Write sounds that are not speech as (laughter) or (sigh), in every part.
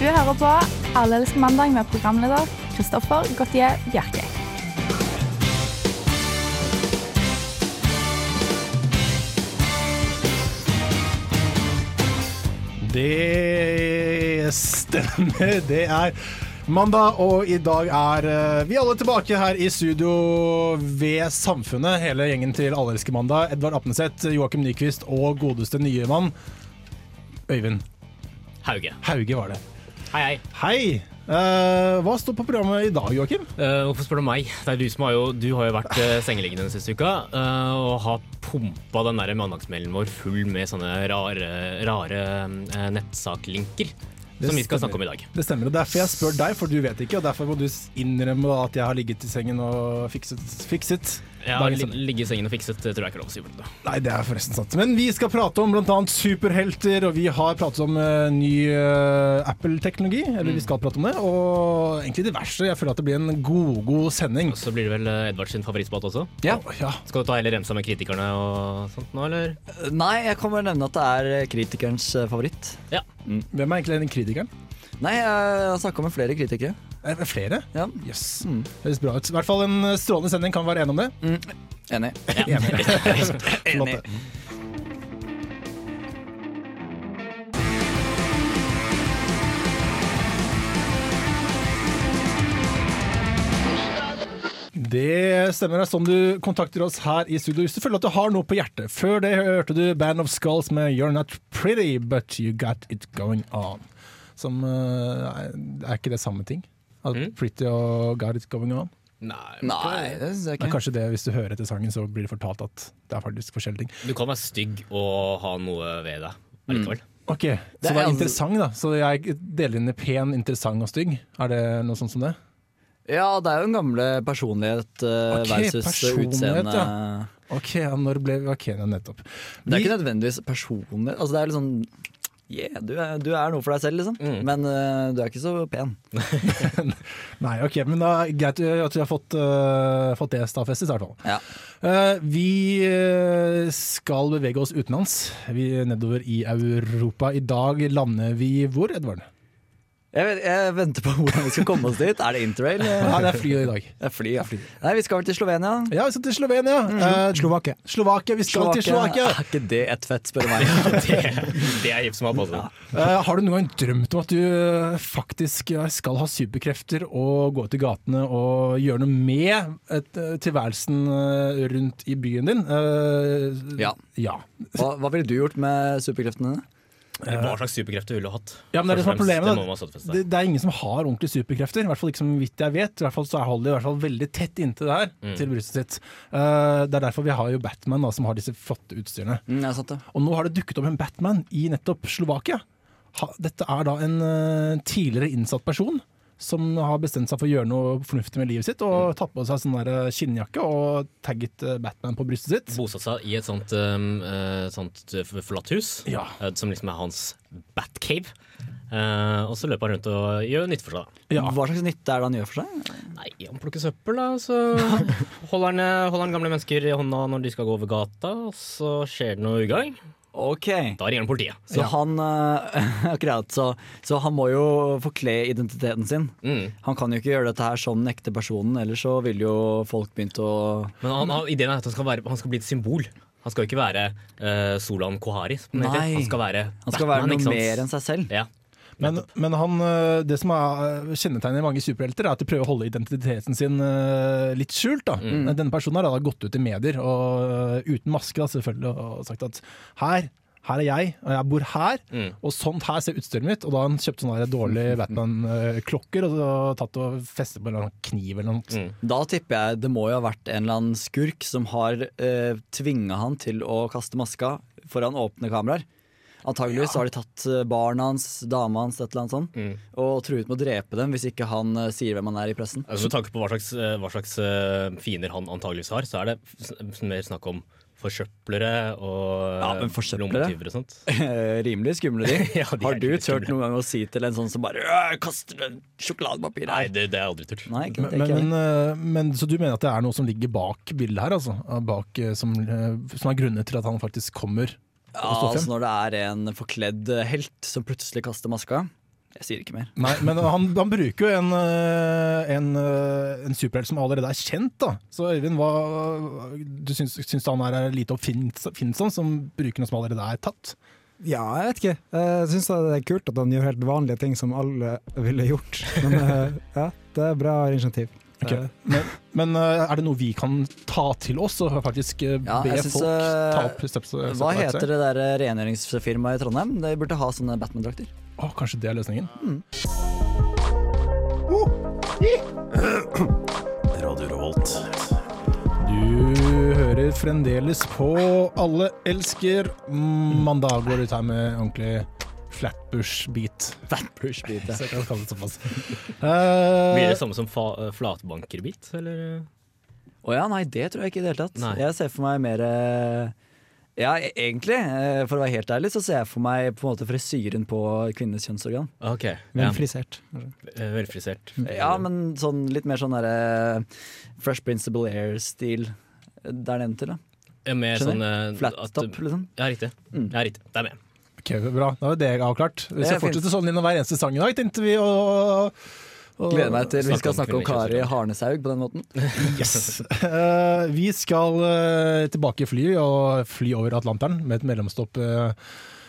Du hører på Alle elsker mandag med programleder Kristoffer Gautier Bjerke. Det stemmer. Det er mandag, og i dag er eh, vi alle tilbake her i studio ved Samfunnet. Hele gjengen til Allelske mandag. Edvard Apneseth, Joakim Nyquist og godeste nye mann Øyvind Hauge. Hauge var det. Hei, hei. Hei! Eh, hva står på programmet i dag, Joakim? Eh, hvorfor spør du meg? Det er du som har jo Du har jo vært eh, sengeliggende den siste uka eh, og har pumpa den der mandagsmailen vår full med sånne rare, rare eh, nettsaklinker som vi skal snakke om i dag. Det stemmer. og Derfor jeg spør deg, for du vet ikke. Og derfor må du s- innrømme da at jeg har ligget i sengen og fikset. fikset Jeg har dagens lig- sending. ligget sånn- i sengen og fikset, det tror jeg ikke er lov å si. blant annet. Nei, det er forresten sant. Men vi skal prate om bl.a. superhelter, og vi har pratet om eh, ny eh, Apple-teknologi. Eller vi skal prate om det. Og egentlig det verste. Jeg føler at det blir en god, god sending. Og så blir det vel eh, Edvard sin favorittspate også. Ja. Å, ja. Skal du ta hele remsa med kritikerne og sånt nå, eller? Nei, jeg kommer å nevne at det er kritikerens eh, favoritt. Ja. Hvem er egentlig den kritikeren? Nei, jeg har snakka med flere kritikere. Er det flere? Ja, Jøss. Yes. Høres bra ut. I hvert fall en strålende sending, kan vi være enige om det. Enig. Enig. Flott, det. Det stemmer. Det er sånn du kontakter oss her i studio hvis du føler at du har noe på hjertet. Før det hørte du Band of Skulls med You're Not Pretty, But You Got It Going On. Som eh, Er ikke det samme ting? At Pretty og Got It Going On? Nei. Nei, det syns jeg Det er ikke. kanskje det, hvis du hører etter sangen, så blir det fortalt at det er faktisk forskjellige ting. Du kan være stygg og ha noe ved deg allikevel. Ok, Så er det er altså- interessant, da. Så jeg deler inn i pen, interessant og stygg. Er det noe sånt som det? Ja, det er jo den gamle personlighet eh, Ok, versus personlighet, utseende. ja. Ok, ja, når ble vi Ok, ja, nettopp. Det er Vi- ikke nødvendigvis personlighet. Altså, det er liksom Yeah, du er, du er noe for deg selv, liksom. Mm. Men eh, du er ikke så pen. Nei, ok, men da er det greit at vi har fått, øh, fått det stadfestet, i hvert fall. Ja. Eh, vi eh, skal bevege oss utenlands, vi er nedover i Europa. I dag lander vi hvor, Edvard? Jeg, vet, jeg venter på (laughs) hvordan vi skal komme oss dit. Er det interrail? Ja, det er flyet i dag. Det er fly, ja. Nei, vi skal vel til Slovenia. Ja, vi skal til Slovenia. Eh, Slovakia. Slovakia, vi skal til Slovakia. Er ikke det et fett, spør du meg. (laughs) (laughs) Det, det er gips som har passet. Eh, har du noen gang drømt om at du eh, faktisk eh, skal ha superkrefter og gå ut i gatene og gjøre noe med et, eh, tilværelsen eh, rundt i byen din? Eh, Ja. ja. Hva, hva ville du gjort med superkreftene dine? Hva slags superkrefter ville du hatt? Eh, Ja, men det er det som er Først og fremst, problemet. Det må man Da. stadfeste. Det, det er ingen som har ordentlige superkrefter, i hvert fall ikke som vidt jeg vet. I hvert fall så er Holly i hvert fall veldig tett inntil det her, til brystet sitt. Eh, det er derfor vi har jo Batman, da, som har disse flotte utstyrene. Mm, ja, sant det. Og nå har det dukket opp en Batman i nettopp Slovakia. Ha, dette er da en eh, tidligere innsatt person som har bestemt seg for å gjøre noe fornuftig med livet sitt, og tatt på seg sånn der eh, skinnjakke og tagget eh, Batman på brystet sitt. bosatt seg i et sånt, um, eh, sånt f- forlatt hus, Ja. eh, som liksom er hans Batcave. Eh, og så løper han rundt og gjør nytte for seg. da. Ja. Hva slags nytte er det han gjør for seg? Nei, han plukker søppel, da. og Så (laughs) holder han, eh, holder han gamle mennesker i hånda når de skal gå over gata, og så skjer det noe ugagn. Ok. Da ringer han politiet. Så han eh, (laughs) Akkurat, så, så han må jo forkle identiteten sin. Mm. Han kan jo ikke gjøre dette her som den ekte personen, ellers så ville jo folk begynt å Men han, han, ideen er at han skal, være, han skal bli et symbol. Han skal jo ikke være eh, Solan Kohari. som det heter. Nei. Han skal være Han skal være Batman, ikke noe sant? mer enn seg selv. Ja. Men, men han, eh, det som er eh, kjennetegnet mange superhelter, er at de prøver å holde identiteten sin eh, litt skjult. Da. Mm. Denne personen har da gått ut i medier, og, eh, uten maske da, selvfølgelig, og sagt at her, her er jeg, og jeg bor her, Mm. og sånt her ser utstyret mitt. Og da har han kjøpt sånne der (laughs) dårlige Batman-klokker og så tatt og festet på en eller annen kniv eller noe. Mm. Da tipper jeg det må jo ha vært en eller annen skurk som har uh, tvinga han til å kaste maska foran åpne kameraer. Antageligvis har de tatt eh, barna hans, dama hans, et eller annet sånt, Mm. og truet med å drepe dem hvis ikke han eh, sier hvem han er i pressen. Altså, med tanke på hva slags, eh, hva slags eh, fiender han antageligvis har, så er det s- mer snakk om forsøplere og Ja, men forsøplere? lommetyver og sånt. Eh, (laughs) Rimelig skumle de. (laughs) Ja, de er har du rimelig tørt noen gang å si til en sånn som bare «Øh, kaster en sjokoladepapir Nei, her? det, det har jeg aldri turt. Nei, ikke, Men, det er ikke jeg. men, eh, men, så du mener at det er noe som ligger bak bildet her, altså? Bak, eh, som, eh, som er grunnen til at han faktisk kommer? ja, står frem. eh, altså Når det er en forkledd helt som plutselig kaster maska, Jeg sier ikke mer. Nei, men han, han bruker jo en, eh, en, eh, en superhelt som allerede er kjent, da. Så Øyvind, hva, du syns, syns han her er lite oppfinnsom, sånn som bruker noe som allerede er tatt? Ja, jeg vet ikke. Jeg syns det er kult at han gjør helt vanlige ting som alle ville gjort. Men eh, ja, det er bra initiativ. Ok. Men, men eh, er det noe vi kan ta til oss, og faktisk eh, Ja, be jeg syns, folk eh, ta opp steps? Hva heter det der eh, rengjøringsfirmaet i Trondheim? De burde ha sånne Batman-drakter. Å, kanskje det er løsningen? Mm. Radio Revolt. Du hører fremdeles på Alle elsker mandag, går ut her med ordentlig flatbush-beat. Push-beat, Så jeg kan kalle det (laughs) såpass. Blir Eh, det samme som fa eh, flatbankerbit, eller? Å ja, nei, det tror jeg ikke i det hele tatt. Nei. Jeg ser for meg mer eh, Ja, e- egentlig, eh, for å være helt ærlig, så ser jeg for meg på en måte frisyren på kvinnenes kjønnsorgan. Ok, ja. Men flisert. kanskje. Eh, velfrisert. Ja, men sånn litt mer sånn derre Fresh Principle Air-stil der nede til, da. Eh, Med Skjønner. sånn eh, Flat at- top, liksom. Ja, riktig. Mm. Ja, riktig. Det er med. ok, bra. Da var det avklart. Vi Det er skal fortsette sånn gjennom hver eneste sang i dag, tenkte vi. Og, og, Gleder meg til vi Snakke skal om snakke om kvinnenes Kari kjønnsorgan. Harneshaug på den måten. Yes. Eh, vi skal eh, tilbake i flyet og fly over Atlanteren med et mellomstopp. eh,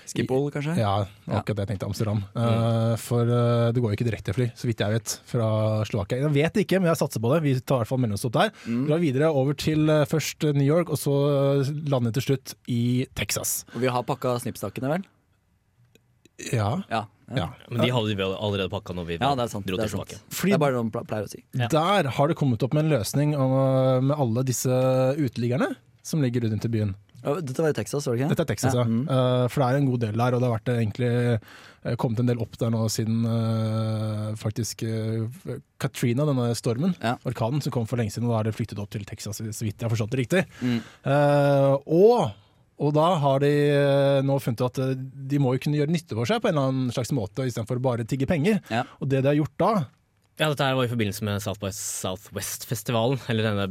Skipol, kanskje? ja, akkurat det jeg tenkte. Amsterdam. Eh, for eh, det går jo ikke direkte fly, så vidt jeg vet, fra Slovakia. Jeg vet ikke, men jeg satser på det. Vi tar i hvert fall mellomstopp der. Drar videre over til eh, først New York, og så eh, lander til slutt i Texas. Og vi har pakka snippstakene, vel? Ja. Ja. ja. Men de hadde vi vel allerede pakka når vi Ja, det er sant. dro Det til er, sant. Slovakia. det er bare noe man pla- pleier å si. Ja. Der har det kommet opp med en løsning eh, med alle disse uteliggerne som ligger rundt i byen. Ja, Dette var i Texas, var det ikke? Dette er Texas, ja. mm. Eh, for det er en god del der, og det har vært eh, egentlig eh, kommet en del opp der nå siden eh, faktisk eh, Katrina, denne stormen, Ja. orkanen som kom for lenge siden, og da har det flyttet opp til Texas, så vidt jeg har forstått det riktig. Mm. Eh, og, og da har de eh, nå funnet ut at eh, de må jo kunne gjøre nytte for seg på en eller annen slags måte, istedenfor bare å tigge penger. Ja. Og det de har gjort da, Ja, dette her var i forbindelse med South by Southwest-festivalen, eller denne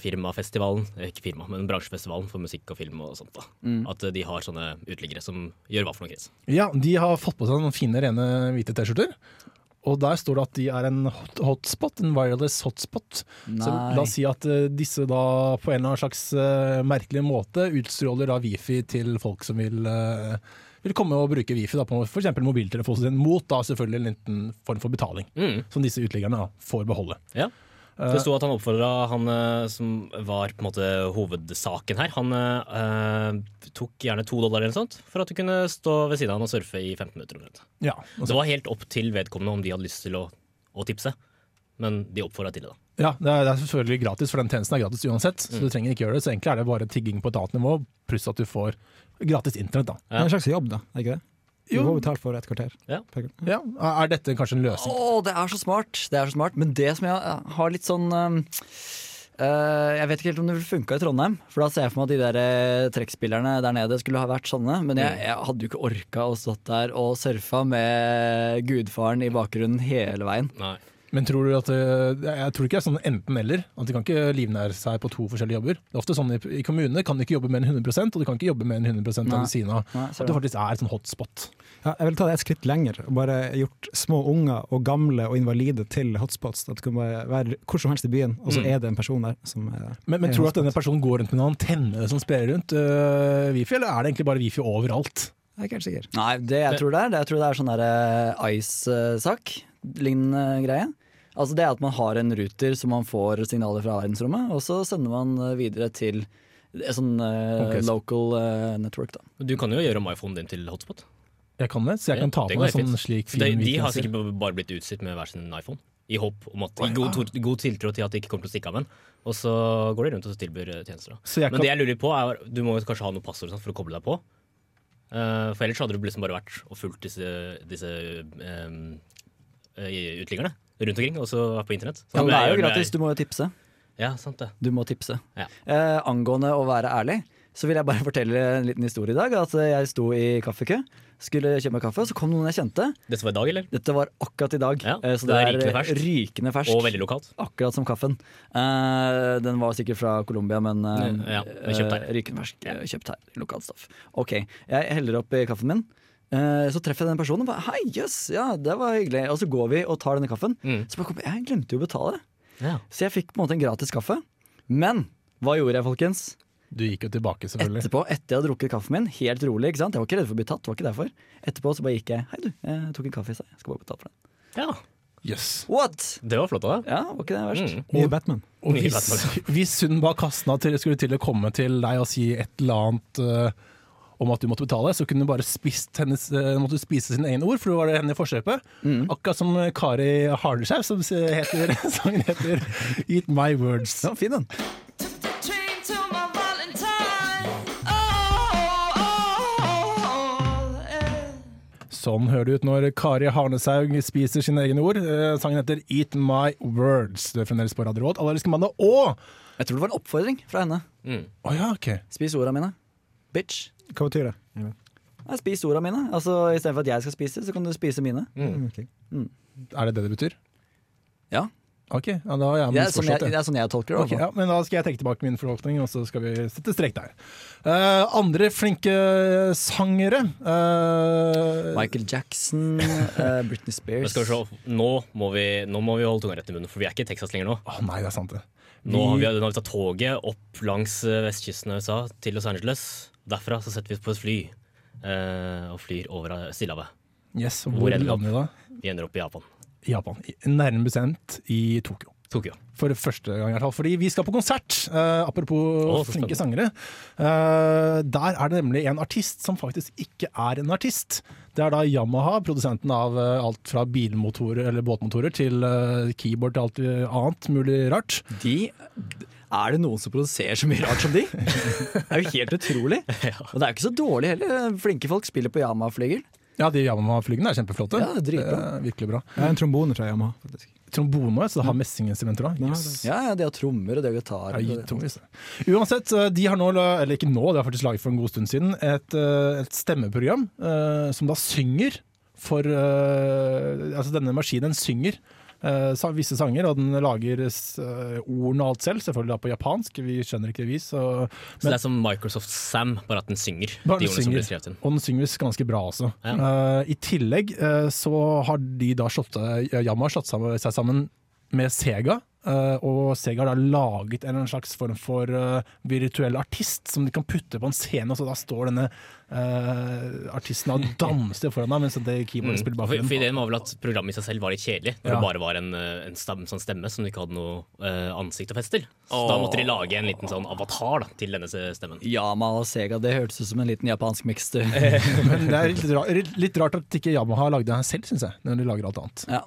bransjefirmafestivalen, Eh, ikke firma, men bransjefestivalen for musikk og film og sånt da. Mm. At eh, de har sånne uteliggere som gjør hva for noe kris. ja, de har fått på seg noen fine, rene hvite T-skjorter. Og der står det at de er en hot, hotspot, en wireless hotspot. Så la oss si at eh, disse da på en eller annen slags eh, merkelig måte utstråler da wifi til folk som vil, eh, vil komme og bruke wifi da på f.eks. mobiltelefonen sin, mot da selvfølgelig en liten form for betaling, Mm. som disse uteliggerne da får beholde. Ja. Eh. Det sto at han oppfordra han eh, som var på en måte hovedsaken her. Han eh, tok gjerne to dollar eller noe sånt for at du kunne stå ved siden av han og surfe i 15 minutter. omtrent. Ja, og så- Det var helt opp til vedkommende om de hadde lyst til å, å tipse, men de oppfordra til det. da. ja det, er, det er selvfølgelig gratis, for den tjenesten er gratis uansett. Så du trenger ikke gjøre det. Så egentlig er det bare tigging på et annet nivå, pluss at du får gratis internett, da. Det er en slags jobb, da. er ikke det? Du Jo. får betalt for et kvarter. Ja. Per- Ja, Er dette kanskje en løsning? Å, det er så smart! Det er så smart. Men det som jeg har litt sånn um, eh, Jeg vet ikke helt om det ville funka i Trondheim. For da ser jeg for meg at de der eh, trekkspillerne der nede skulle ha vært sånne. Men jeg, jeg hadde jo ikke orka å stått der og surfa med gudfaren i bakgrunnen hele veien. Nei. Men tror du at eh, Jeg tror ikke det er sånn enten-eller. At de kan ikke livnære seg på to forskjellige jobber. Det er ofte sånn I, i kommunene kan du ikke jobbe mer enn 100 og du kan ikke jobbe mer enn 100 Nei. av ved siden av. Nei, ser At du. det faktisk er et sånn hotspot. Ja, jeg vil ta det et skritt lenger og bare gjort små unger og gamle og invalide til hotspots. At det kan bare være hvor som helst i byen, og så er det en person der som eh, er Men, er men tror du at hotspot. denne personen går rundt med en antenne som sprer rundt eh, wifi, eller er det egentlig bare wifi overalt? Jeg er ikke helt sikker. Nei, det jeg Det- tror det er, det jeg tror det er sånn derre Ice-sak, lignende greie. Altså det er at man har en ruter som man får signaler fra verdensrommet, og så sender man eh, videre til eh, sånn eh, Ok, så- local eh, network, da. Du kan jo gjøre om iPhonen din til hotspot. Jeg kan det, så jeg kan ta Ja, det på meg går helt sånn fint. slik de, fin de har wifi. sikkert bare blitt utstyrt med hver sin iPhone. I håp om at, i god, tor- god tiltro til at de ikke kommer til å stikke av med den. Og så går de rundt og tilbyr eh, tjenester. Da. Så jeg Men kan, det jeg lurer på er, du må jo kanskje ha noe passord sant, for å koble deg på. Eh, for ellers hadde du liksom bare vært og fulgt disse, disse em, eh, uteliggerne rundt omkring. Og så vært på internett. Sånn Ja, men det er jo jeg- gratis, du må jo tipse. Ja, sant det. Du må tipse. Ja. Eh, angående å være ærlig, så vil jeg bare (laughs) fortelle en liten historie i dag. At jeg sto i kaffekø, skulle kjøpe meg kaffe, så kom noen jeg kjente. Dette var i dag, eller? Dette var akkurat i dag, Ja, eh, så det det er er rykende ferskt. rykende ferskt. Og veldig lokalt. Akkurat som kaffen. Eh, den var sikkert fra Colombia, men eh, Ja, ja, den er kjøpt her. eh, rykende fersk. eh, Kjøpt her. Lokalt stoff. Ok, jeg heller oppi kaffen min. Eh, Så treffer jeg den personen og bare Hei, jøss, ja, det var hyggelig. Og så går vi og tar denne kaffen. Mm. Så bare kommer jeg, jeg glemte jo å betale. Ja. Så jeg fikk på en måte en gratis kaffe. Men hva gjorde jeg, folkens? Du gikk jo tilbake, selvfølgelig. Etterpå, etter jeg hadde drukket kaffen min, helt rolig, ikke sant? jeg var ikke redd for å bli tatt. det var ikke derfor Etterpå så bare gikk jeg. Hei, du, jeg tok en kaffe i seg. Jeg skal bare betale for den. ja. Yes. What? Det var flott av deg. Ja, var ikke det verst? Mm. Nye Batman. Og Mye hvis, Batman. (laughs) hvis hun bak kassen at dere skulle til å komme til deg og si et eller annet eh, om at du måtte betale, så kunne du bare spist hennes, eh, måtte du spise sine egne ord, for det var det henne i forkjøpet. Akkurat som Kari Harneshaug, som heter, (laughs) sangen heter 'Eat My Words'. Ja, fin den. Train to my Valentine. Oh, oh, oh, yeah. Sånn hører det ut når Kari Harneshaug spiser sine egne ord. Eh, Sangen heter 'Eat My Words'. Du er fremdeles på Radio Råd. Allergiske mandag og Jeg tror det var en oppfordring fra henne. Å ja, OK. Spis orda mine. Bitch. Hva betyr det? Nei, spis orda mine. Altså, Istedenfor at jeg skal spise, så kan du spise mine. Mm. Ok. Er det det det betyr? Ja, OK, ja, da har jeg Det er sånn jeg, misforstått det det. er sånn jeg tolker det. i hvert Ok, fall. ja, men Da skal jeg trekke tilbake min forvaltning, og så skal vi sette strek der. Eh, andre flinke sangere eh, Michael Jackson, eh, (laughs) Britney Men Spears skal vi se, nå må vi, nå må vi holde tunga rett i munnen, for vi er ikke i Texas lenger nå. Å nei, det er sant, det. Nå har vi, nå har vi tatt toget opp langs eh, vestkysten av USA til Los Angeles. Derfra så setter vi oss på et fly eh, og flyr over eh, Stillehavet. Yes, Hvor hvor ender vi opp? lander vi da? Vi ender opp i Japan. Japan. I- Nærmere bestemt i Tokyo. Tokyo. For første gang i hvert fall. Fordi vi skal på konsert, eh, apropos Å, så flinke spennende. sangere. Eh, der er det nemlig en artist som faktisk ikke er en artist. Det er da Yamaha, produsenten av eh, alt fra bilmotorer eller båtmotorer til eh, keyboard til alt eh, annet mulig rart. De, er det noen som produserer så mye rart som de? Det er jo helt (laughs) utrolig. Og det er jo ikke så dårlig heller. Flinke folk spiller på Yama-flygel. Ja, de Yamaha-flygene er kjempeflotte. Ja, det er dritbra. Det er virkelig bra. Jeg har en trombone fra Yamaha, faktisk. Trombone, så det har messinginstrumenter òg. Ja, Yes. Mm. Ja, ja, de har trommer og de har gitar. Ja, og- i tungvis. Uansett, eh, de har nå, eller ikke nå, det har faktisk laget for en god stund siden, et, eh, et stemmeprogram eh, som da synger for eh, Altså denne maskinen synger eh, sa- visse sanger, og den lager eh, ordene og alt selv, selvfølgelig da på japansk, vi skjønner ikke det vi, så Så det er som Microsoft Sam, bare at den synger. Bare de den ordene som synger. blir skrevet inn. Og den synger visst ganske bra også. Eh, I tillegg eh, så har de da slått, eh, Yamaha slått sammen, seg sammen med Sega. eh, og Sega har da laget en eller annen slags form for eh, virtuell artist som de kan putte på en scene, og så da står denne eh, artisten og danser foran deg mens det keyboardet spiller Mm. For, for bakgrunn. ideen var vel at programmet i seg selv var litt kjedelig, når Ja. det bare var en, eh, en stem, sånn stemme som du ikke hadde noe eh, ansikt å feste til. Så da måtte de lage en liten sånn avatar da, til denne stemmen. Yama og Sega, det hørtes ut som en liten japansk (laughs) miks. du. Men det er litt rart, litt rart at ikke Yamaha lagde det her selv, syns jeg, når de lager alt annet. Ja,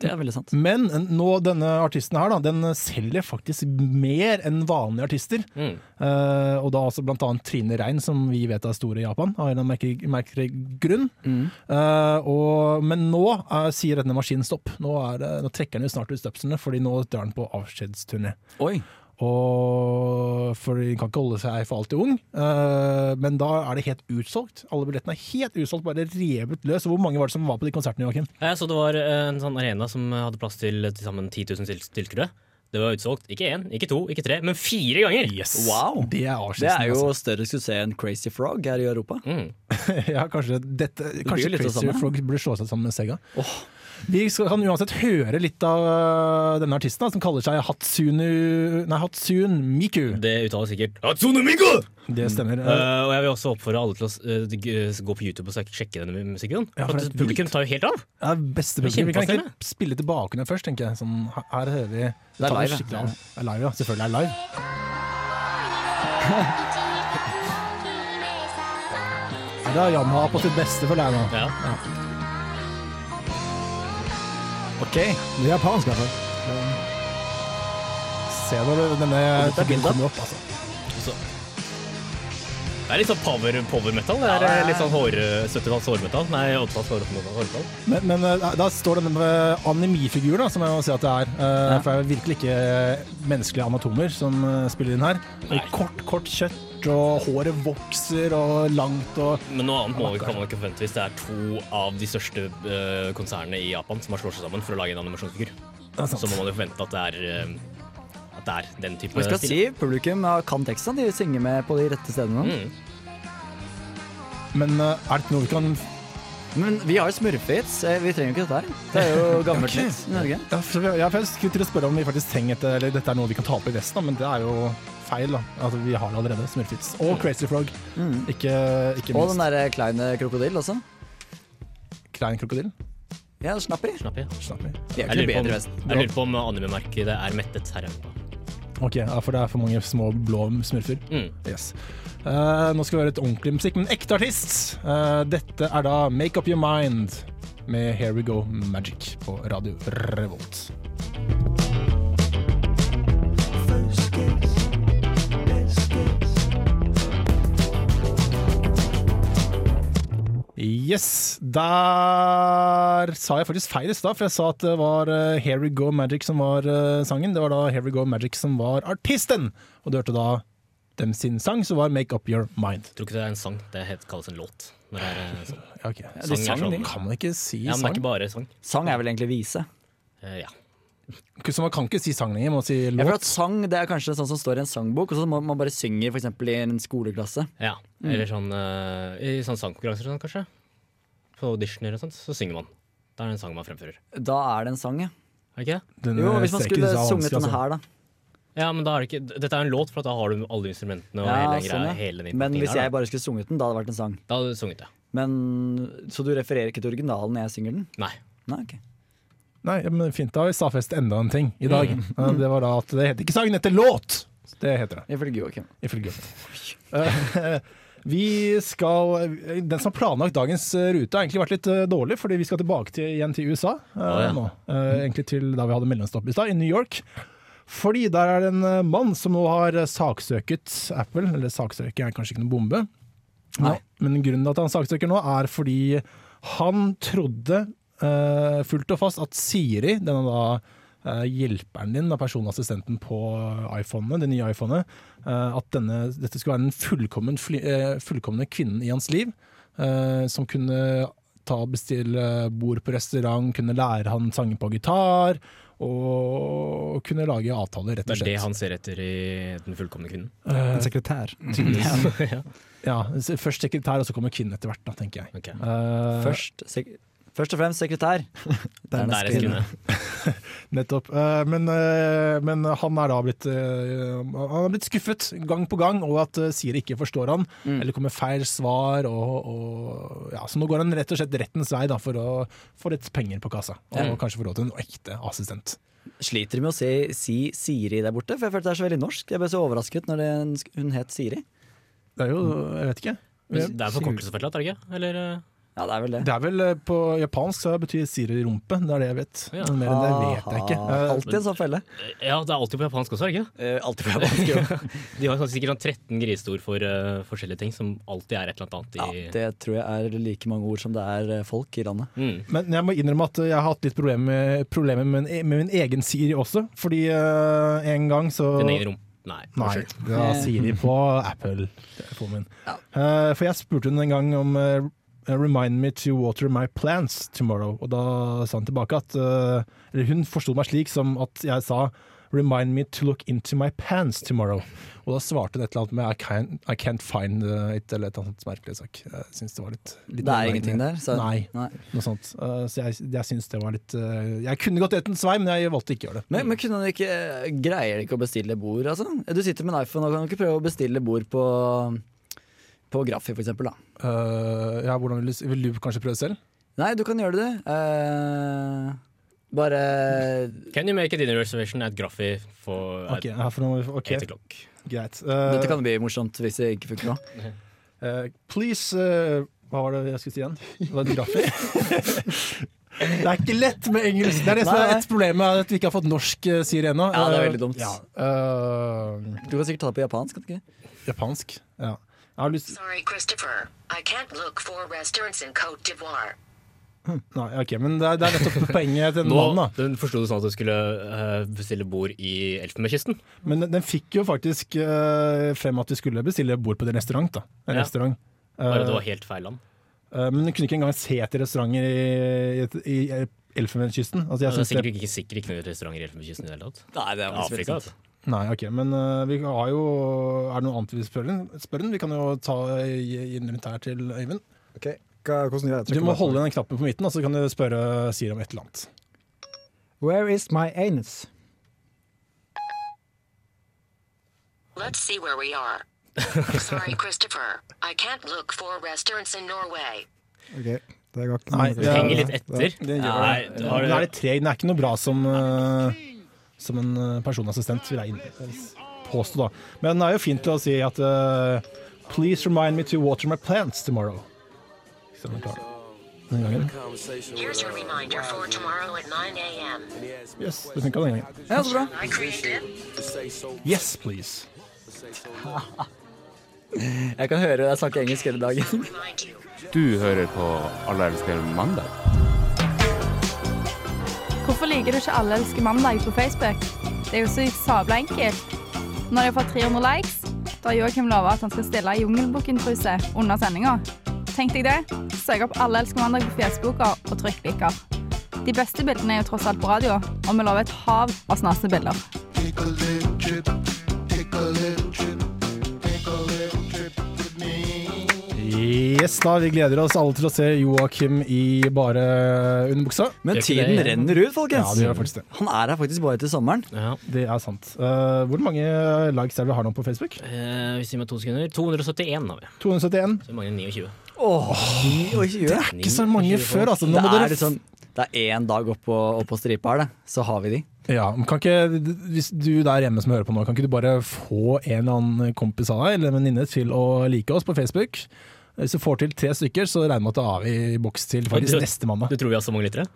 det er veldig sant. Men nå, denne artisten her, da, den selger faktisk mer enn vanlige artister. Mm. Eh, og da altså blant annet Trine Rein, som vi vet er stor i Japan, av en eller annen merkelig- merkelig grunn. Eh, og, men nå eh, sier denne maskinen stopp. Nå, er, det- nå trekker den jo snart ut støpslene, fordi nå drar den på avskjedsturné. Oi, Og for de kan ikke holde seg for alltid ung, Eh, men da er det helt utsolgt. Alle billettene er helt utsolgt, bare revet løs. Hvor mange var det som var på de konsertene, Joakim? Jeg så det var en sånn arena som hadde plass til til sammen 10 000 til- tilskuere. Det var utsolgt. Ikke én, ikke to, ikke tre, men fire ganger! Wow. Det er avskjedsen. det er jo altså. større suksess enn Crazy Frog her i Europa. Mm. (laughs) Ja, kanskje dette, blir jo Kanskje litt det Crazy samme. Frog burde slå seg sammen med Sega. Vi skal, kan uansett høre litt av øh, denne artisten, da, som kaller seg Hatsunu Nei, Hatsun Miku. Det uttales sikkert Hatsune Miku! Det stemmer. Mm. Eh, og jeg vil også oppfordre alle til å eh, de- eh, gå på YouTube og sek- sjekke denne mu- musikkvideoen. Ja, for for det er at publikum tar jo helt av! Det er beste publikum. Vi kan kjempeanstrengende. ikke spille tilbake den først, tenker jeg. Sånn, her- her hører vi Det er tar vi live, ja. skikkelig av. Det er live, ja. Selvfølgelig er det (laughs) live. Det er Yamaha på sitt beste for deg nå. Ja. Ok, Det er japansk, i hvert fall. Se når du- denne dette er figuren bildet. kommer opp, altså. Så. Det er litt sånn power, power metal. Det er eh, litt sånn hår, 70-talls hårmetall. Nei, 80-talls hår- hårmetall. Men, men eh, da står det med animifiguren, da, som jeg må si at det er. Eh, For det er virkelig ikke eh, menneskelige anatomer som eh, spiller inn her. Kort, kort kjøtt, og håret vokser, og langt og Men noe annet må vi, kan man ikke forvente hvis det er to av de største eh, konsernene i Japan som har slått seg sammen for å lage en animasjonsfigur. er sant. Så må man jo forvente at det er, eh, at det er den type Vi skal stil. si publikum ja, kan teksten, de Mm. synger med på de rette stedene. Mm. Men eh, er det ikke noe vi kan Men vi har jo smurfehits. Eh, Vi trenger jo ikke dette her. (laughs) Det er jo gammelt nytt i Norge. Ja, for jeg, jeg skulle til å spørre om vi faktisk trenger et Eller dette er noe vi kan ta opp i resten, da, men det er jo feil. da Altså Vi har det allerede. Smurfits. Og Crazy Frog. Ikke, ikke Mm. Og minst. den derre kleine krokodille også. Klein krokodille. Ja, snapper. Slapp i. Slapp i. Vi er Jeg lurer ikke noe på om, bedre vest. jeg lurer på om animemarkedet er mettet her hjemme. Ok, ja, For det er for mange små blå smurfer. Mm. Yes. Eh, nå skal vi høre et ordentlig musikk, men ekte artist. Eh, dette er da Make Up Your Mind med Here We Go Magic på Radio Revolt. Yes. Der sa jeg faktisk feil i stad, for jeg sa at det var eh, Here We Go Magic som var eh, sangen. Det var da Here We Go Magic som var artisten. Og du hørte da dem sin sang, som var Make Up Your Mind. Tror ikke det er en sang, det het- kalles en låt. Når det er eh, sånn. Ja, ok. de sang, Sang, de. Kan man ikke si Ja, men det er sang? ikke bare sang. Sang er vel egentlig vise. Eh, ja. Ikke- Så man kan ikke si sang lenger, man må si Jeg føler låt. at sang det er kanskje sånn som står i en sangbok, og så man, man bare synger f.eks. i en skoleklasse. ja. Mm. Eller sånn eh, i sånn sangkonkurranser og sånn, kanskje. På auditioner og sånt, så synger man. Da er det en sang man fremfører. Da er det en sang, ja. Er det ikke det? Den Jo, hvis man streken skulle synes jeg er vanskelig, sunget den altså. her, da. Ja, men da er det ikke Dette er en låt, for at da har du alle instrumentene og Ja, hele den sånn, greia. ja. Hele den Men innpakningen hvis der, jeg bare skulle sunget den, da hadde det vært en sang. da. Da hadde du sunget, ja. Men, Så du refererer ikke til originalen når jeg synger den? Nei. Nei, ok. Nei, ja, men Fint, da har vi stadfestet enda en ting i dag. Mm. (laughs) Ja, Det var da at det heter ikke sang, det heter låt! Det heter det. Ifølge Joakim. Ifølge Bjørn. (laughs) Vi skal Den som har planlagt dagens rute, har egentlig vært litt eh, dårlig, fordi vi skal tilbake til, igjen til USA eh, ja. nå. Mm. Eh, Egentlig til da vi hadde mellomstopp i stad, i New York. Fordi der er det en eh, mann som nå har eh, saksøket Apple, eller saksøker er kanskje ikke noen bombe. Nå, Nei. men grunnen til at han saksøker nå, er fordi han trodde eh, fullt og fast at Siri, denne da eh, hjelperen din, da, personassistenten på iPhone, det nye iPhonet, eh, at denne, dette skulle være den fullkommen fly, eh, fullkomne kvinnen i hans liv, eh, som kunne ta og bestille bord på restaurant, kunne lære han sanger på gitar, og kunne lage avtaler, rett og Det er slett. det han ser etter i Den fullkomne (laughs) kvinnen. En sekretær. Ja, s- først sekretær, og så kommer kvinnen etter hvert, da, tenker jeg. Ok. Eh, Først, sek først og fremst sekretær. Der er kvinne. Nettopp. Eh, Men, eh, men han er da blitt, eh, han er blitt skuffet gang på gang over at eh, Siri ikke forstår han, Mm. eller kommer feil svar. Og, og, ja, så nå går han rett og slett rettens vei da, for å få litt penger på kassa, og Ja. kanskje få råd til en ekte assistent. Sliter med å si, si Siri der borte, for jeg følte det er så veldig norsk. Jeg ble så overrasket når det, hun het Siri. Det er jo, jeg vet ikke. Men Det er forkortelse for et eller annet, er det ikke? Eller eh, Ja, det er vel det. Det er vel eh, på japansk så betyr Siri rumpe, det er det jeg vet. Ja. Men mer enn det vet jeg ikke. Aha. Eh, Alltid en sånn felle. Ja, det er alltid på japansk også, er det ikke? Eh, alltid for japansk, jo. De har sånn sikkert sånn 13 griseord for eh, forskjellige ting, som alltid er et eller annet Ja, annet i det tror jeg er like mange ord som det er eh, folk i landet. mm. Men jeg må innrømme at jeg har hatt litt problemer med, problemer med, min- med min egen Siri også. Fordi eh, en gang så Din egen rom. Nei. Nei, unnskyld. det Eh. var Siri på Apple-telefonen min. Eh, for jeg spurte henne en gang om eh, Remind me to water my plants tomorrow. Og da sa hun tilbake at eh, Eller hun forsto meg slik som at jeg sa Remind me to look into my pants tomorrow. Og da svarte hun et eller annet med I can't, I can't find it, eller et eller annet merkelig sak. Jeg syns det var litt, litt Det er nedverdigende. ingenting der, så Nei, Nei. noe sånt. Eh, så jeg, jeg syns det var litt eh, Jeg kunne gått rettens vei, men jeg valgte ikke å gjøre det. Men, men kunne du ikke, eh, greier du ikke å bestille bord, altså? Du sitter med en iPhone, og kan du ikke prøve å bestille bord på, på Graffi, for eksempel, da? Eh, ja, hvordan vil, du, vil du kanskje prøve selv? Nei, du kan gjøre det, du. Eh, bare Eh. Can you make a dinner reservation at Graffi for Ok, her for noe, ok, eight o'clock? greit. Eh, Dette kan bli morsomt hvis det ikke funker nå. Eh, please eh, Hva var det jeg skulle si igjen? Det var et graffi. det er ikke lett med engelsk. Det er det som Nei, er nei. et problem med at vi ikke har fått norsk eh, Siri ennå. Ja, det er Eh, veldig dumt. Ja. eh, Du kan sikkert ta det på japansk, kan du ikke? japansk. Ja. Jeg har lyst Sorry, Christopher. I can't look for restaurants in Cote d'Ivoire. Nei, ok, men det er, det er nettopp poenget til den Nå mannen, da. den forsto du sånn at du skulle eh, bestille bord i Elfenbenskysten. Men den- den fikk jo faktisk eh, frem at vi skulle bestille bord på en restaurant, da. En Ja. restaurant. Bare at Eh, det var helt feil land. eh, men den kunne ikke engang se etter restauranter i, i, i Elfenbenskysten. Altså, jeg Det er synes det- sikkert ikke, sikkert ikke noen restauranter i Elfenbenskysten i det hele tatt. Nei, det er Afrika, altså. vet du. Nei, ok, men eh, vi har jo Er det noe annet vi spør den? Spør den? Vi kan jo ta eh, gi- gi den rundt her til Øyvind. Ok. hva- hvordan gjør jeg Du Trykker må bare på- holde den knappen på midten, og så kan du spørre Siri om et eller annet. Where is my anus? Let's see where we are. Sorry, Christopher. I can't look for restaurants in Norway. Ok, det går ikke. Nei, det- det er- Henger litt etter. Det gjør Nei, det. du har Den er litt det. treg. Den er ikke noe bra som, eh, som en eh, personassistent, vil jeg inn- eh, påstå. da. Men den er jo fin til å si at eh, Please remind me to water my plants tomorrow. Så den er klar. Den gangen. Here's your reminder for tomorrow at 9 a.m. Yes, det funka den gangen. Ja, så bra. I created. Yes, please. Jeg kan høre deg snakke engelsk hele dagen. Remind you. Du hører på Alle elsker mandag. Hvorfor liker du ikke Alle elsker mandag på Facebook? Det er jo så sabla enkelt. Når jeg får 300 likes, da Joakim lover at han skal stille i Jungelbukken-truse under sendinga. Tenk deg det. Søk opp Alle elsker mandag på Facebooka og trykk liker. De beste bildene er jo tross alt på radio, og vi lover et hav av snasende bilder. Yes, da. Vi gleder oss alle til å se Joakim i bare underbuksa. Men Gjør ikke tiden det, ja. renner ut, Ja, folkens. det gjør faktisk det. Han er her faktisk bare til sommeren. Ja. Det er sant. Eh, hvor mange likes er det vi har nå på Facebook? Eh, hvis vi gir meg to sekunder 271 har vi. 271. Så vi mangler 29. Åh, 29. Det Ikke så mange før, altså. Nå må er dere liksom Det er én dag opp på, opp på stripa her, det. Så har vi de. Ja, men kan ikke, Hvis du der hjemme som hører på nå, kan ikke du bare få en eller annen kompis av deg eller en venninne til å like oss på Facebook? Hvis du får til tre stykker, så regner vi med at da er vi i boks til faktisk Du- neste Ah. Du mandag. tror vi har så mange lyttere?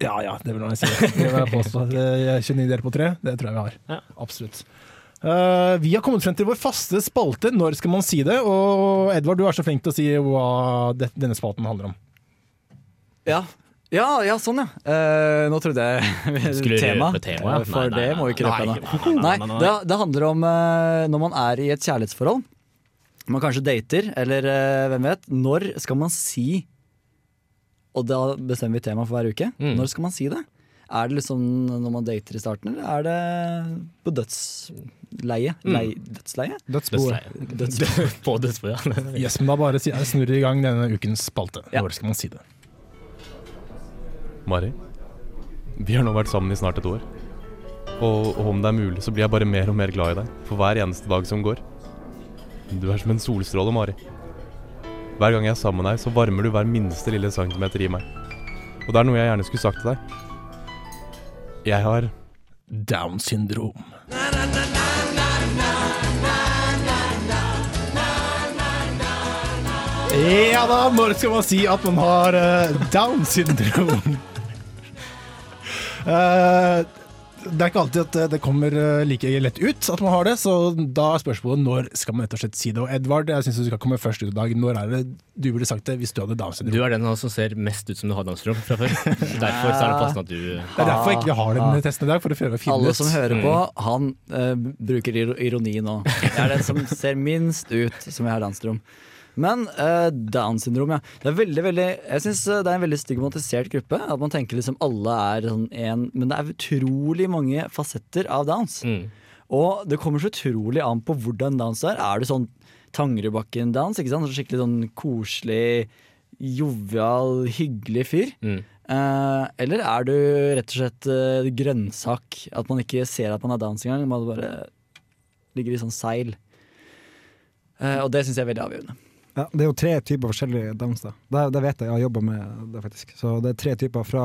Ja ja, det vil jeg si. Det vil jeg påstå. Det er 29 deler på tre, det tror jeg vi har. Ja. Absolutt. Eh, vi har kommet frem til vår faste spalte, Når skal man si det? Og Edvard, du er så flink til å si hva det- denne spalten handler om. Ja. Ja, ja, sånn ja. Eh, nå trodde jeg Skulle tema, røpe tema, ja. eh, for Nei, nei, det nei, må vi ikke nei, røpe nei, ennå. nei, Nei, nei, nei. det, det handler om eh, når man er i et kjærlighetsforhold. Man kanskje dater, eller eh, hvem vet. Når skal man si Og da bestemmer vi tema for hver uke. Mm. Når skal man si det? Er det liksom når man dater i starten, eller er det på dødsleie? Lei, dødsleie? Dødsboet. Mm. Dødsleie. På dødsbo, ja. Yes, men Da bare si- snurrer vi i gang denne ukens spalte. Ja. Når skal man si det? Mari, vi har nå vært sammen i snart et år. Og, og om det er mulig, så blir jeg bare mer og mer glad i deg for hver eneste dag som går. Du er som en solstråle, Mari. Hver gang jeg er sammen med deg, så varmer du hver minste lille centimeter i meg. Og det er noe jeg gjerne skulle sagt til deg. Jeg har Down syndrom. Ja da, når skal man si at man har eh, down syndrom? Eh, det er ikke alltid at eh, det kommer eh, like lett ut at man har det, så da er spørsmålet når skal man rett og slett si det. Og Edvard, jeg syns du skal komme først ut i dag. Når er det du burde sagt det hvis du hadde down (laughs) Du syndrom? er den av oss som ser mest ut som du har dansrom fra (laughs) før. Derfor så er det passende at du Det er derfor jeg ikke har den testen i dag, for å prøve å finne Alle ut. som hører på, han eh, bruker iro- ironi nå. Jeg er den som ser minst ut som jeg har Downs syndrom. Men eh, Downs syndrom, ja. Det er veldig, veldig, jeg syns det er en veldig stigmatisert gruppe. At man tenker liksom alle er sånn en Men det er utrolig mange fasetter av Downs. Mm. Og det kommer så utrolig an på hvordan Downs er. Er du sånn Tangerudbakken-dans? ikke sant? Så Skikkelig sånn koselig, jovial, hyggelig fyr. Mm. Eh, eller er du rett og slett eh, grønnsak? At man ikke ser at man er dans engang, man bare ligger i sånn seil. Eh, og det syns jeg er veldig avgjørende. Ja, det er jo tre typer forskjellige downs. da. Det, det vet jeg, jeg har jobba med det faktisk. Så det er tre typer fra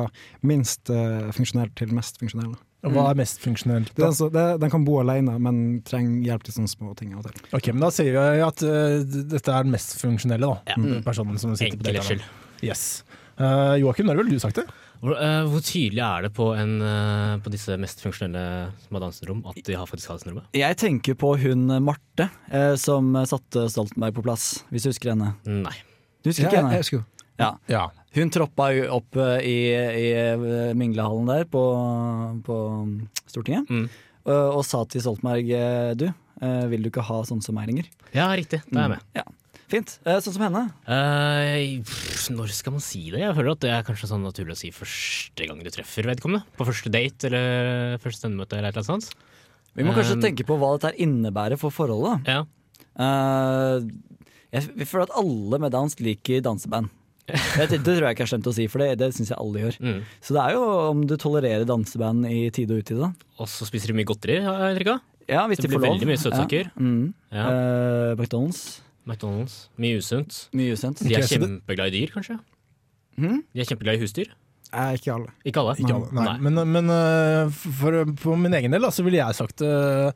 minst eh, funksjonell til mest funksjonell. da. Hva er mest funksjonelt? Det er den, som- det, den kan bo alene, men trenger hjelp til sånne små ting av og til. Ok, men Da sier vi at eh, d- dette er den mest funksjonelle da, personen som sitter på Enkel dette. Mm. skyld. Yes. Eh, Joakim, når ville du sagt det? Hvor, eh, hvor tydelig er det på, en, eh, på disse mest funksjonelle som har danserom, at de har faktisk har danserom? Jeg tenker på hun Marte eh, som satte Stoltenberg på plass, hvis du husker henne. Nei. Du husker ikke henne? husker jo. Ja. Ja. Hun troppa jo opp eh, i, i eh, minglehallen der på, på mm, Stortinget Mm. eh, og, sa til Stoltenberg eh, du, eh, vil du ikke ha sånne som meg lenger? Ja, riktig. Da er jeg med. Ja. Fint. Eh, sånn som henne. Eh, pff, når skal man si det? Jeg føler at det er kanskje sånn naturlig å si første gang du treffer vedkommende. På første date eller eh, første stendemøte eller et eller annet sånt. Vi må kanskje Um, tenke på hva dette her innebærer for forholdet. Ja. Eh, Jeg f- jeg føler at alle med dans liker danseband. Det, det tror jeg ikke er slemt å si, for det, det syns jeg alle gjør. Mm. Så det er jo om du tolererer danseband i tide og utide. da. Og så spiser de mye godterier, har jeg inntrykk av. Ja, hvis Det de blir får lov. veldig mye søtsaker. Ja. Mm. Ja. Eh, McDonald's. McDonald's. Mye usunt. Mye usent. De er Ok, så det- Hm? kjempeglad i dyr, kanskje? Mhm. De er kjempeglad i husdyr? Eh, ikke alle. Ikke alle? Ikke alle. Nei. Nei. Men, men eh, for, for min egen del da, så ville jeg sagt eh,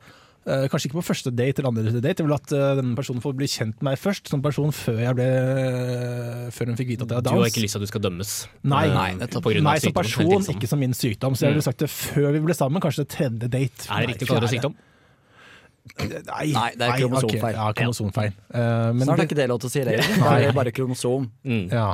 eh, Kanskje ikke på første date eller andre date. Jeg ville at eh, denne personen får bli kjent med meg først, som person før jeg ble eh, Før hun fikk vite at jeg har Du dans. har ikke lyst til at du skal dømmes? Nei, Eh, nei, nettopp. på grunn av meg som sykdom, person, helt riktig. ikke som min sykdom. Så jeg ville sagt det før vi ble sammen, kanskje det tredje date. Er det Nei, riktig å kalle det fjerde. sykdom? Nei, Nei, det er ok, kromosomfeil. Ja, kromosomfeil. Eh, men Snart er det, ikke det lov til å si (laughs) det. egentlig. Nå er det bare kromosomvariant. Mm. ja,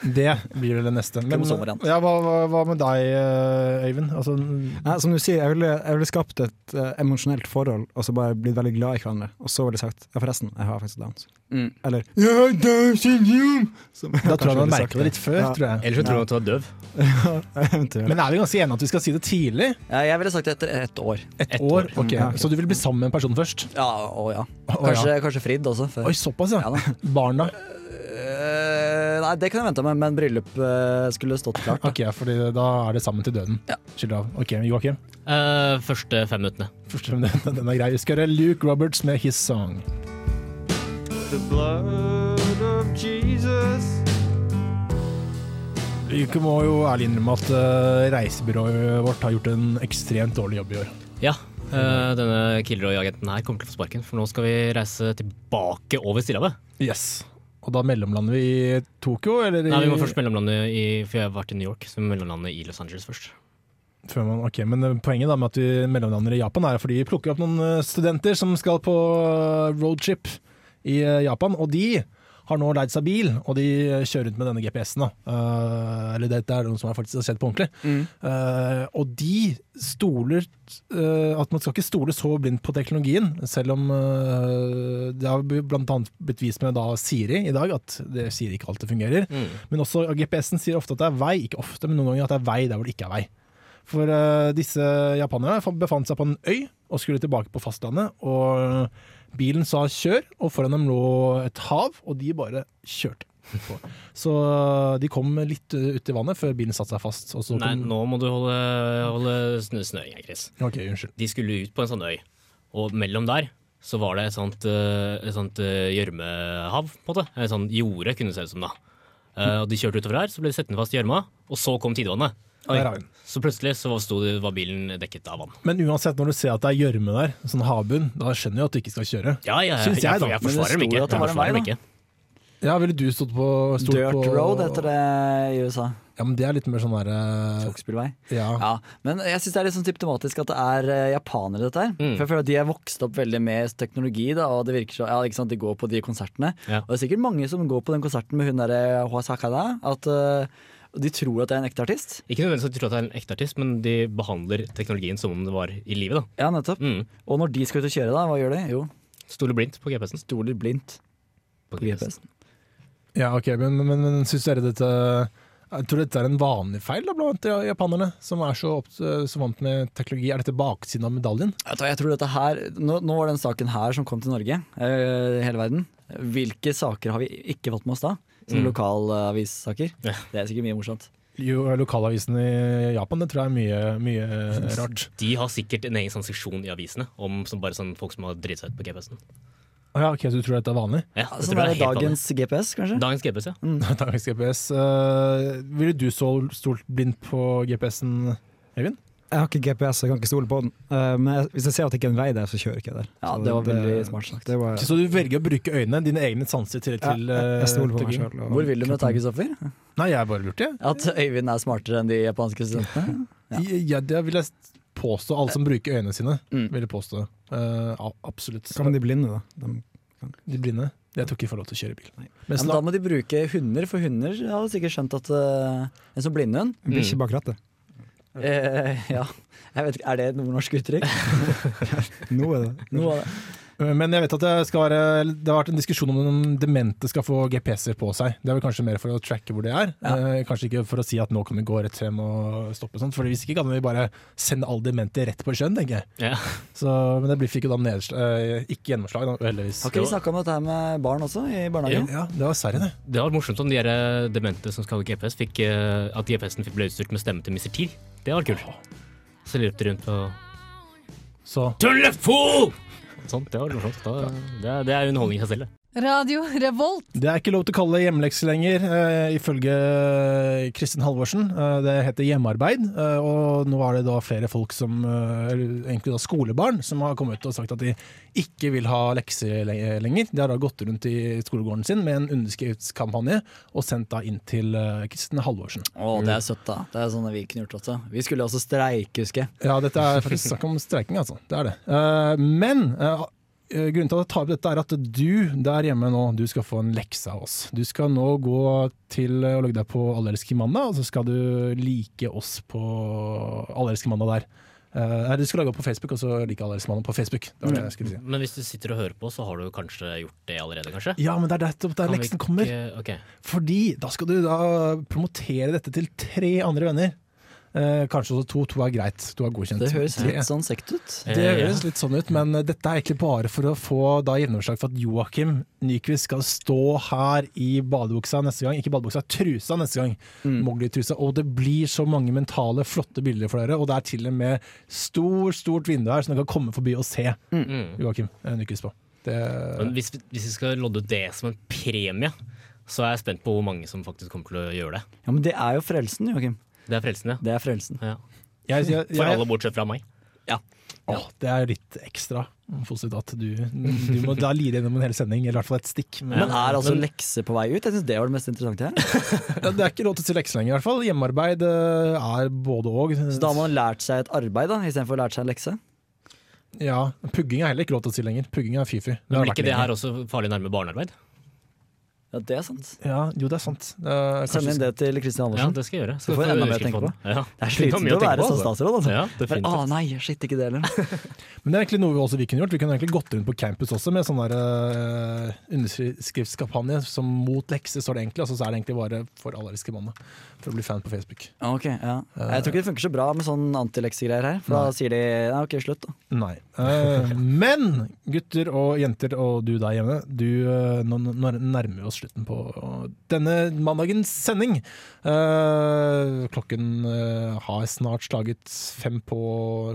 det blir vel det neste. Men, Kromosomvariant. ja, hva, hva, hva med deg, eh, Øyvind? Altså, Nei, som du sier, jeg ville, jeg ville skapt et eh, emosjonelt forhold og så bare blitt veldig glad i hverandre. Og så ville jeg sagt ja, forresten, jeg har faktisk dans. Mm. Eller jeg har Downs syndrom! Som jeg da kanskje tror jeg ville man sagt merker det litt før, Ja. tror jeg. Eller så tror du at du er døv. (laughs) Eventuelt. Men er vi ganske enige om at vi skal si det tidlig? Ja, jeg ville sagt det etter ett år. Et, Et år? år. Ok, Ja, ok. Så du vil bli sammen med en person først? Ja, og ja. Å, Kanskje, ja. kanskje fridd også. Før. Oi, såpass, ja. Ja (laughs) da. Barna. Eh, nei, det kan jeg vente med, men bryllup eh, skulle stått klart. da. Ok, fordi da er det sammen til døden. Ja. Skilt av. Ok, Joakim. Eh, første fem minuttene. Først og fremst, (laughs) Den er grei. Vi skal høre Luke Roberts med 'His Song'. Vi må jo ærlig innrømme at eh, reisebyrået vårt har gjort en ekstremt dårlig jobb i år. Ja, eh, denne Kilroy-agenten her kommer til å få sparken, for nå skal vi reise tilbake over Stillehavet. Yes. Og da mellomlander vi i Tokyo, eller i Nei, vi Eh, må først mellomlande i For jeg har vært i New York, så vi må mellomlande i Los Angeles først. Før man, ok, men eh, Poenget da med at vi mellomlander i Japan er fordi vi plukker opp noen eh, studenter som skal på eh, roadtrip i eh, Japan, og de har nå leid seg bil, og de eh, kjører rundt med denne GPS-en. da. Eh, eller dette er noe som er faktisk har skjedd på ordentlig. Eh, og de stoler eh, At man skal ikke stole så blindt på teknologien, selv om eh, det har blant annet blitt vist med da Siri i dag at det, Siri ikke alltid fungerer. Men også GPS-en sier ofte at det er vei, ikke ofte, men noen ganger at det er vei der hvor det ikke er vei. For eh, disse japanerne fa- befant seg på en øy og skulle tilbake på fastlandet. Og bilen sa kjør, og foran dem lå et hav, og de bare (laughs) kjørte. på. Så de kom litt eh, ut i vannet før bilen satte seg fast. Og så Nei, kom, nå må du holde, holde sn- snøringa, Chris. Ok, unnskyld. De skulle ut på en sånn øy, og mellom der så var det et sånt, eh, et sånt eh, gjørmehav, på en måte. Et sånt jorde, kunne det se ut som da. Eh, og de kjørte utover her, så ble de settende fast i gjørma, og så kom tidevannet. Der er hun. Så plutselig så sto, var bilen dekket av vann. Men uansett, når du ser at det er gjørme der, sånn havbunn, da skjønner du at du ikke skal kjøre. Ja, ja, Syns jeg, jeg, da. jeg, jeg Men det forsvarer dem sto ikke. jo at det Jeg var en forsvarer dem vei, ikke. Ja, ville du stått på stått Dirt på, road heter det i USA. Ja, men det er litt mer sånn derre Skogsbilvei. ja. Ja, men jeg syns det er litt sånn symptomatisk at det er eh, japanere, dette her. Mm. For jeg føler at de er vokst opp veldig med teknologi, da, og det virker så, ja, ikke sant, de går på de konsertene. Ja. Og det er sikkert mange som går på den konserten med hun derre Hoasakada, at eh, de tror at det er en ekte artist. Ikke nødvendigvis at de tror at det er en ekte artist, men de behandler teknologien som om det var i livet. da. Ja, nettopp. Mm. Og når de skal ut og kjøre, da, hva gjør de? Jo, Stoler blindt på GPS-en. stoler blindt På på GPS-en. ja, ok, men, men, men syns dere dette jeg tror dette er en vanlig feil da, blant japanerne, som er så, opp, eh, så vant med teknologi. Er dette baksiden av medaljen? Vet du hva, Jeg tror dette her, nå, nå var den saken her som kom til Norge, eh, hele verden. Hvilke saker har vi ikke fått med oss da? Som Mm. lokalavissaker. Ja. Det er sikkert mye morsomt. Jo, Lokalavisen i Japan, det tror jeg er mye, mye rart. De har sikkert en egen sånn seksjon i avisene om som bare sånn folk som har driti seg ut på GPS-en. Å (laughs) Ja, ok, Så du tror dette er vanlig? (laughs) Ja, Ja, det Sånn tror er jeg det er helt dagens GPS, kanskje? vanlig. Dagens GPS, ja. Dagens GPS. Eh, ville du så stolt blindt på GPS-en, Eivind? Jeg har ikke GPS, så jeg kan ikke stole på den. Eh, men jeg, hvis jeg ser at det ikke er en vei der, så kjører jeg ikke der. Ja, Så det var veldig smart sagt. det var, Så du velger å bruke øynene, dine egne sanser, til, ja, til eh, jeg, jeg stoler på meg teknologien? sjøl. Hvor vil du med deg, Kristoffer? Nei, jeg bare lurte, jeg. At Øyvind er smartere enn de (laughs) japanske studentene? Ja. ja. Det vil jeg påstå. Alle som bruker øynene sine, Mm. vil jeg påstå. Eh, a- absolutt. Hva med de blinde, da? De, De blinde. Jeg tror ikke de får lov til å kjøre bil. Nei. Men Ja, men da må de bruke hunder, for hunder hadde sikkert skjønt at eh, En sånn blindhund blir ikke bak rattet. (laughs) (laughs) eh, Ja, jeg vet ikke, er det et nordnorsk uttrykk? Nå er det Noe av det. Men jeg vet at det, skal være, eller det har vært en diskusjon om om demente skal få GPS-er på seg. Det er vel kanskje mer for å tracke hvor de er. Eh, Kanskje ikke for å si at nå kan vi gå rett frem og stoppe sånt. For hvis ikke kan vi bare sende alle demente rett på sjøen, tenker jeg. Ja. Så, men det blir- fikk jo da nedslag, eh, ikke gjennomslag, da, heldigvis. Har ikke vi snakka om dette her med barn også, i barnehagen? Ja, det var Sverige, det. Det var morsomt om de her, eh, demente som skal ha GPS, fikk, eh, at GPS-en ble utstyrt med stemme til Mr. T. Det var kult. Så løp de rundt og Så Telefon! Sånt, det var morsomt. Da, det, er, det er underholdning i seg selv. det. Radio Revolt. det er ikke lov til å kalle det hjemmelekse lenger, eh, ifølge Kristin Halvorsen. Eh, det heter hjemmearbeid, eh, og nå er det da flere folk som, eh, eller egentlig da skolebarn, som har kommet ut og sagt at de ikke vil ha lekser le- lenger. De har da gått rundt i skolegården sin med en underskriftskampanje og sendt da inn til eh, Kristin Halvorsen. Å, det er søtt, da. Det er sånn vi kunne gjort også. Vi skulle også streike, husker jeg. Ja, dette er faktisk snakk om streiking, altså. Det er det. Eh, men eh, grunnen til at jeg tar opp dette, er at du der hjemme nå, du skal få en lekse av oss. Du skal nå gå til å legge deg på Allelske mandag, og så skal du like oss på Allelske mandag der. Eh, Nei, du skal lage opp på Facebook, og så like Allelske mandag på Facebook. Det var det jeg skulle si. Men hvis du sitter og hører på, så har du kanskje gjort det allerede, kanskje? Ja, men det er nettopp der Kan vi leksen ikke- kommer. ok. Fordi da skal du da promotere dette til tre andre venner. Eh, kanskje også to. To er greit. To er godkjent. Det høres Tre. litt sånn sekt ut. Det Eh, ja. høres litt sånn ut, men dette er egentlig bare for å få da gjennomslag for at Joakim Nyquist skal stå her i badebuksa neste gang. Ikke badebuksa, trusa neste gang. Mm. Mowgli-trusa. Og det blir så mange mentale, flotte bilder for dere. Og det er til og med stort, stort vindu her som dere kan komme forbi og se Mm. Joakim eh, Nyquist på. Det, Men hvis, vi- hvis vi skal lodde ut det som en premie, så er jeg spent på hvor mange som faktisk kommer til å gjøre det. Ja, Men det er jo frelsen, Joakim. Det er frelsende. Det er frelsen. Ja. (laughs) jeg, jeg, For alle jeg, bortsett fra meg. Åh, det er litt ekstra positivt at du, du må da lide gjennom en hel sending, eller i hvert fall et stikk. Men er altså lekse på vei ut? Jeg syns det var det mest interessante her. Ja, eh, Det er ikke lov til å si lekser lenger, i hvert fall. Hjemmearbeid eh, er både og. Så da har man lært seg et arbeid, da, istedenfor å lært seg en lekse. Ja, Pugging er heller ikke lov til å si lenger. Pugging er fy-fy. Det Men har blir vært ikke det her lenge. også farlig nærme barnearbeid? Ja, det er sant. Ja, jo, det er sant. Eh, Send inn kanskje- det til Kristin Ja, Andersen. det skal jeg gjøre. Så får jeg enda mer å tenke på. Ja. Det er Du har mye slitsomt å tenke være på, som altså. statsråd, altså. Ja, Bare, definitivt. Å nei, shit, ikke det heller. Men det er egentlig noe vi også vi kunne gjort. Vi kunne egentlig gått rundt på campus også med sånn der eh, underskriftskampanje som mot lekser står det egentlig, altså så er det egentlig bare for allergiske mann, da, for å bli fan på Facebook. Ok, ja. Jeg tror ikke det funker så bra med sånn antileksegreier her. For da sier de nei, ok, slutt, da. Nei. Eh, men gutter og jenter og du der hjemme, du, eh, nå, nå nærmer vi oss slutten på eh, denne mandagens sending. Eh, klokken eh, har snart slaget fem på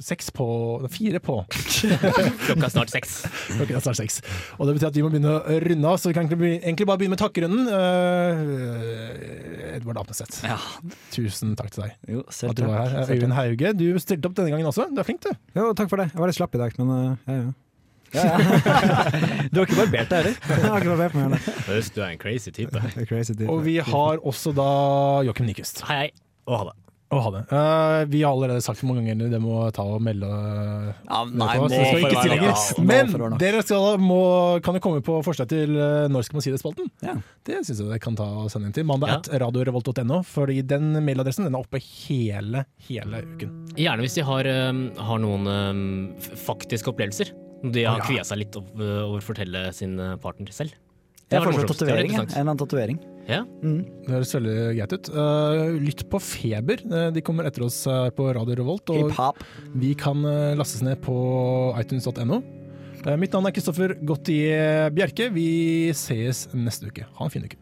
Seks på Fire på. Klokka er snart seks. Klokken er snart seks. Og det betyr at vi må begynne å runde av, så vi kan egentlig be- egentlig bare begynne med takkerunden. Eh, Edvard Apneseth, Ja. tusen takk til deg Jo, at selv du var her. Eh, takk. Selv Øyvind Hauge, du stilte opp denne gangen også. Du er flink, du. Jo, takk for det. Jeg var litt slapp i dag, men eh, ja, (laughs) ja. takk. Ja, ja. Du har ikke barbert deg heller. Jeg har ikke vært med på meg, heller. Øst, du er en crazy type. Hei, Det er crazy, type. Og vi har også da Joakim Nyquist. hei. Og ha det. Å ha det. Eh, vi har allerede sagt hvor mange ganger dere må ta og melde Ja, det nei, på oss. nå Vi skal får ikke si det være lenger. nok. Nå får det være Men nok. dere skal, må, kan jo komme på forslag til eh, når skal man si det-spalten. Ja. Det syns jeg dere kan ta og sende inn til mandag Ja. at radiorevolt.no, fordi den mailadressen den er oppe hele, hele uken. Gjerne hvis de har, um, har noen um, f- faktiske opplevelser. De har kvia seg litt over, over å fortelle sin uh, partner selv. Jeg var det foreslår morsomste. Det var tatovering. jeg. En interessant. eller annen tatovering. Ja. Det høres veldig greit ut. Eh, lytt på Feber. Eh, de kommer etter oss her på Radio Revolt. Og Hiphop. Vi kan eh, lastes ned på itunes.no. Eh, Mitt navn er Kristoffer Gotti Bjerke. Vi sees neste uke. Ha en fin uke.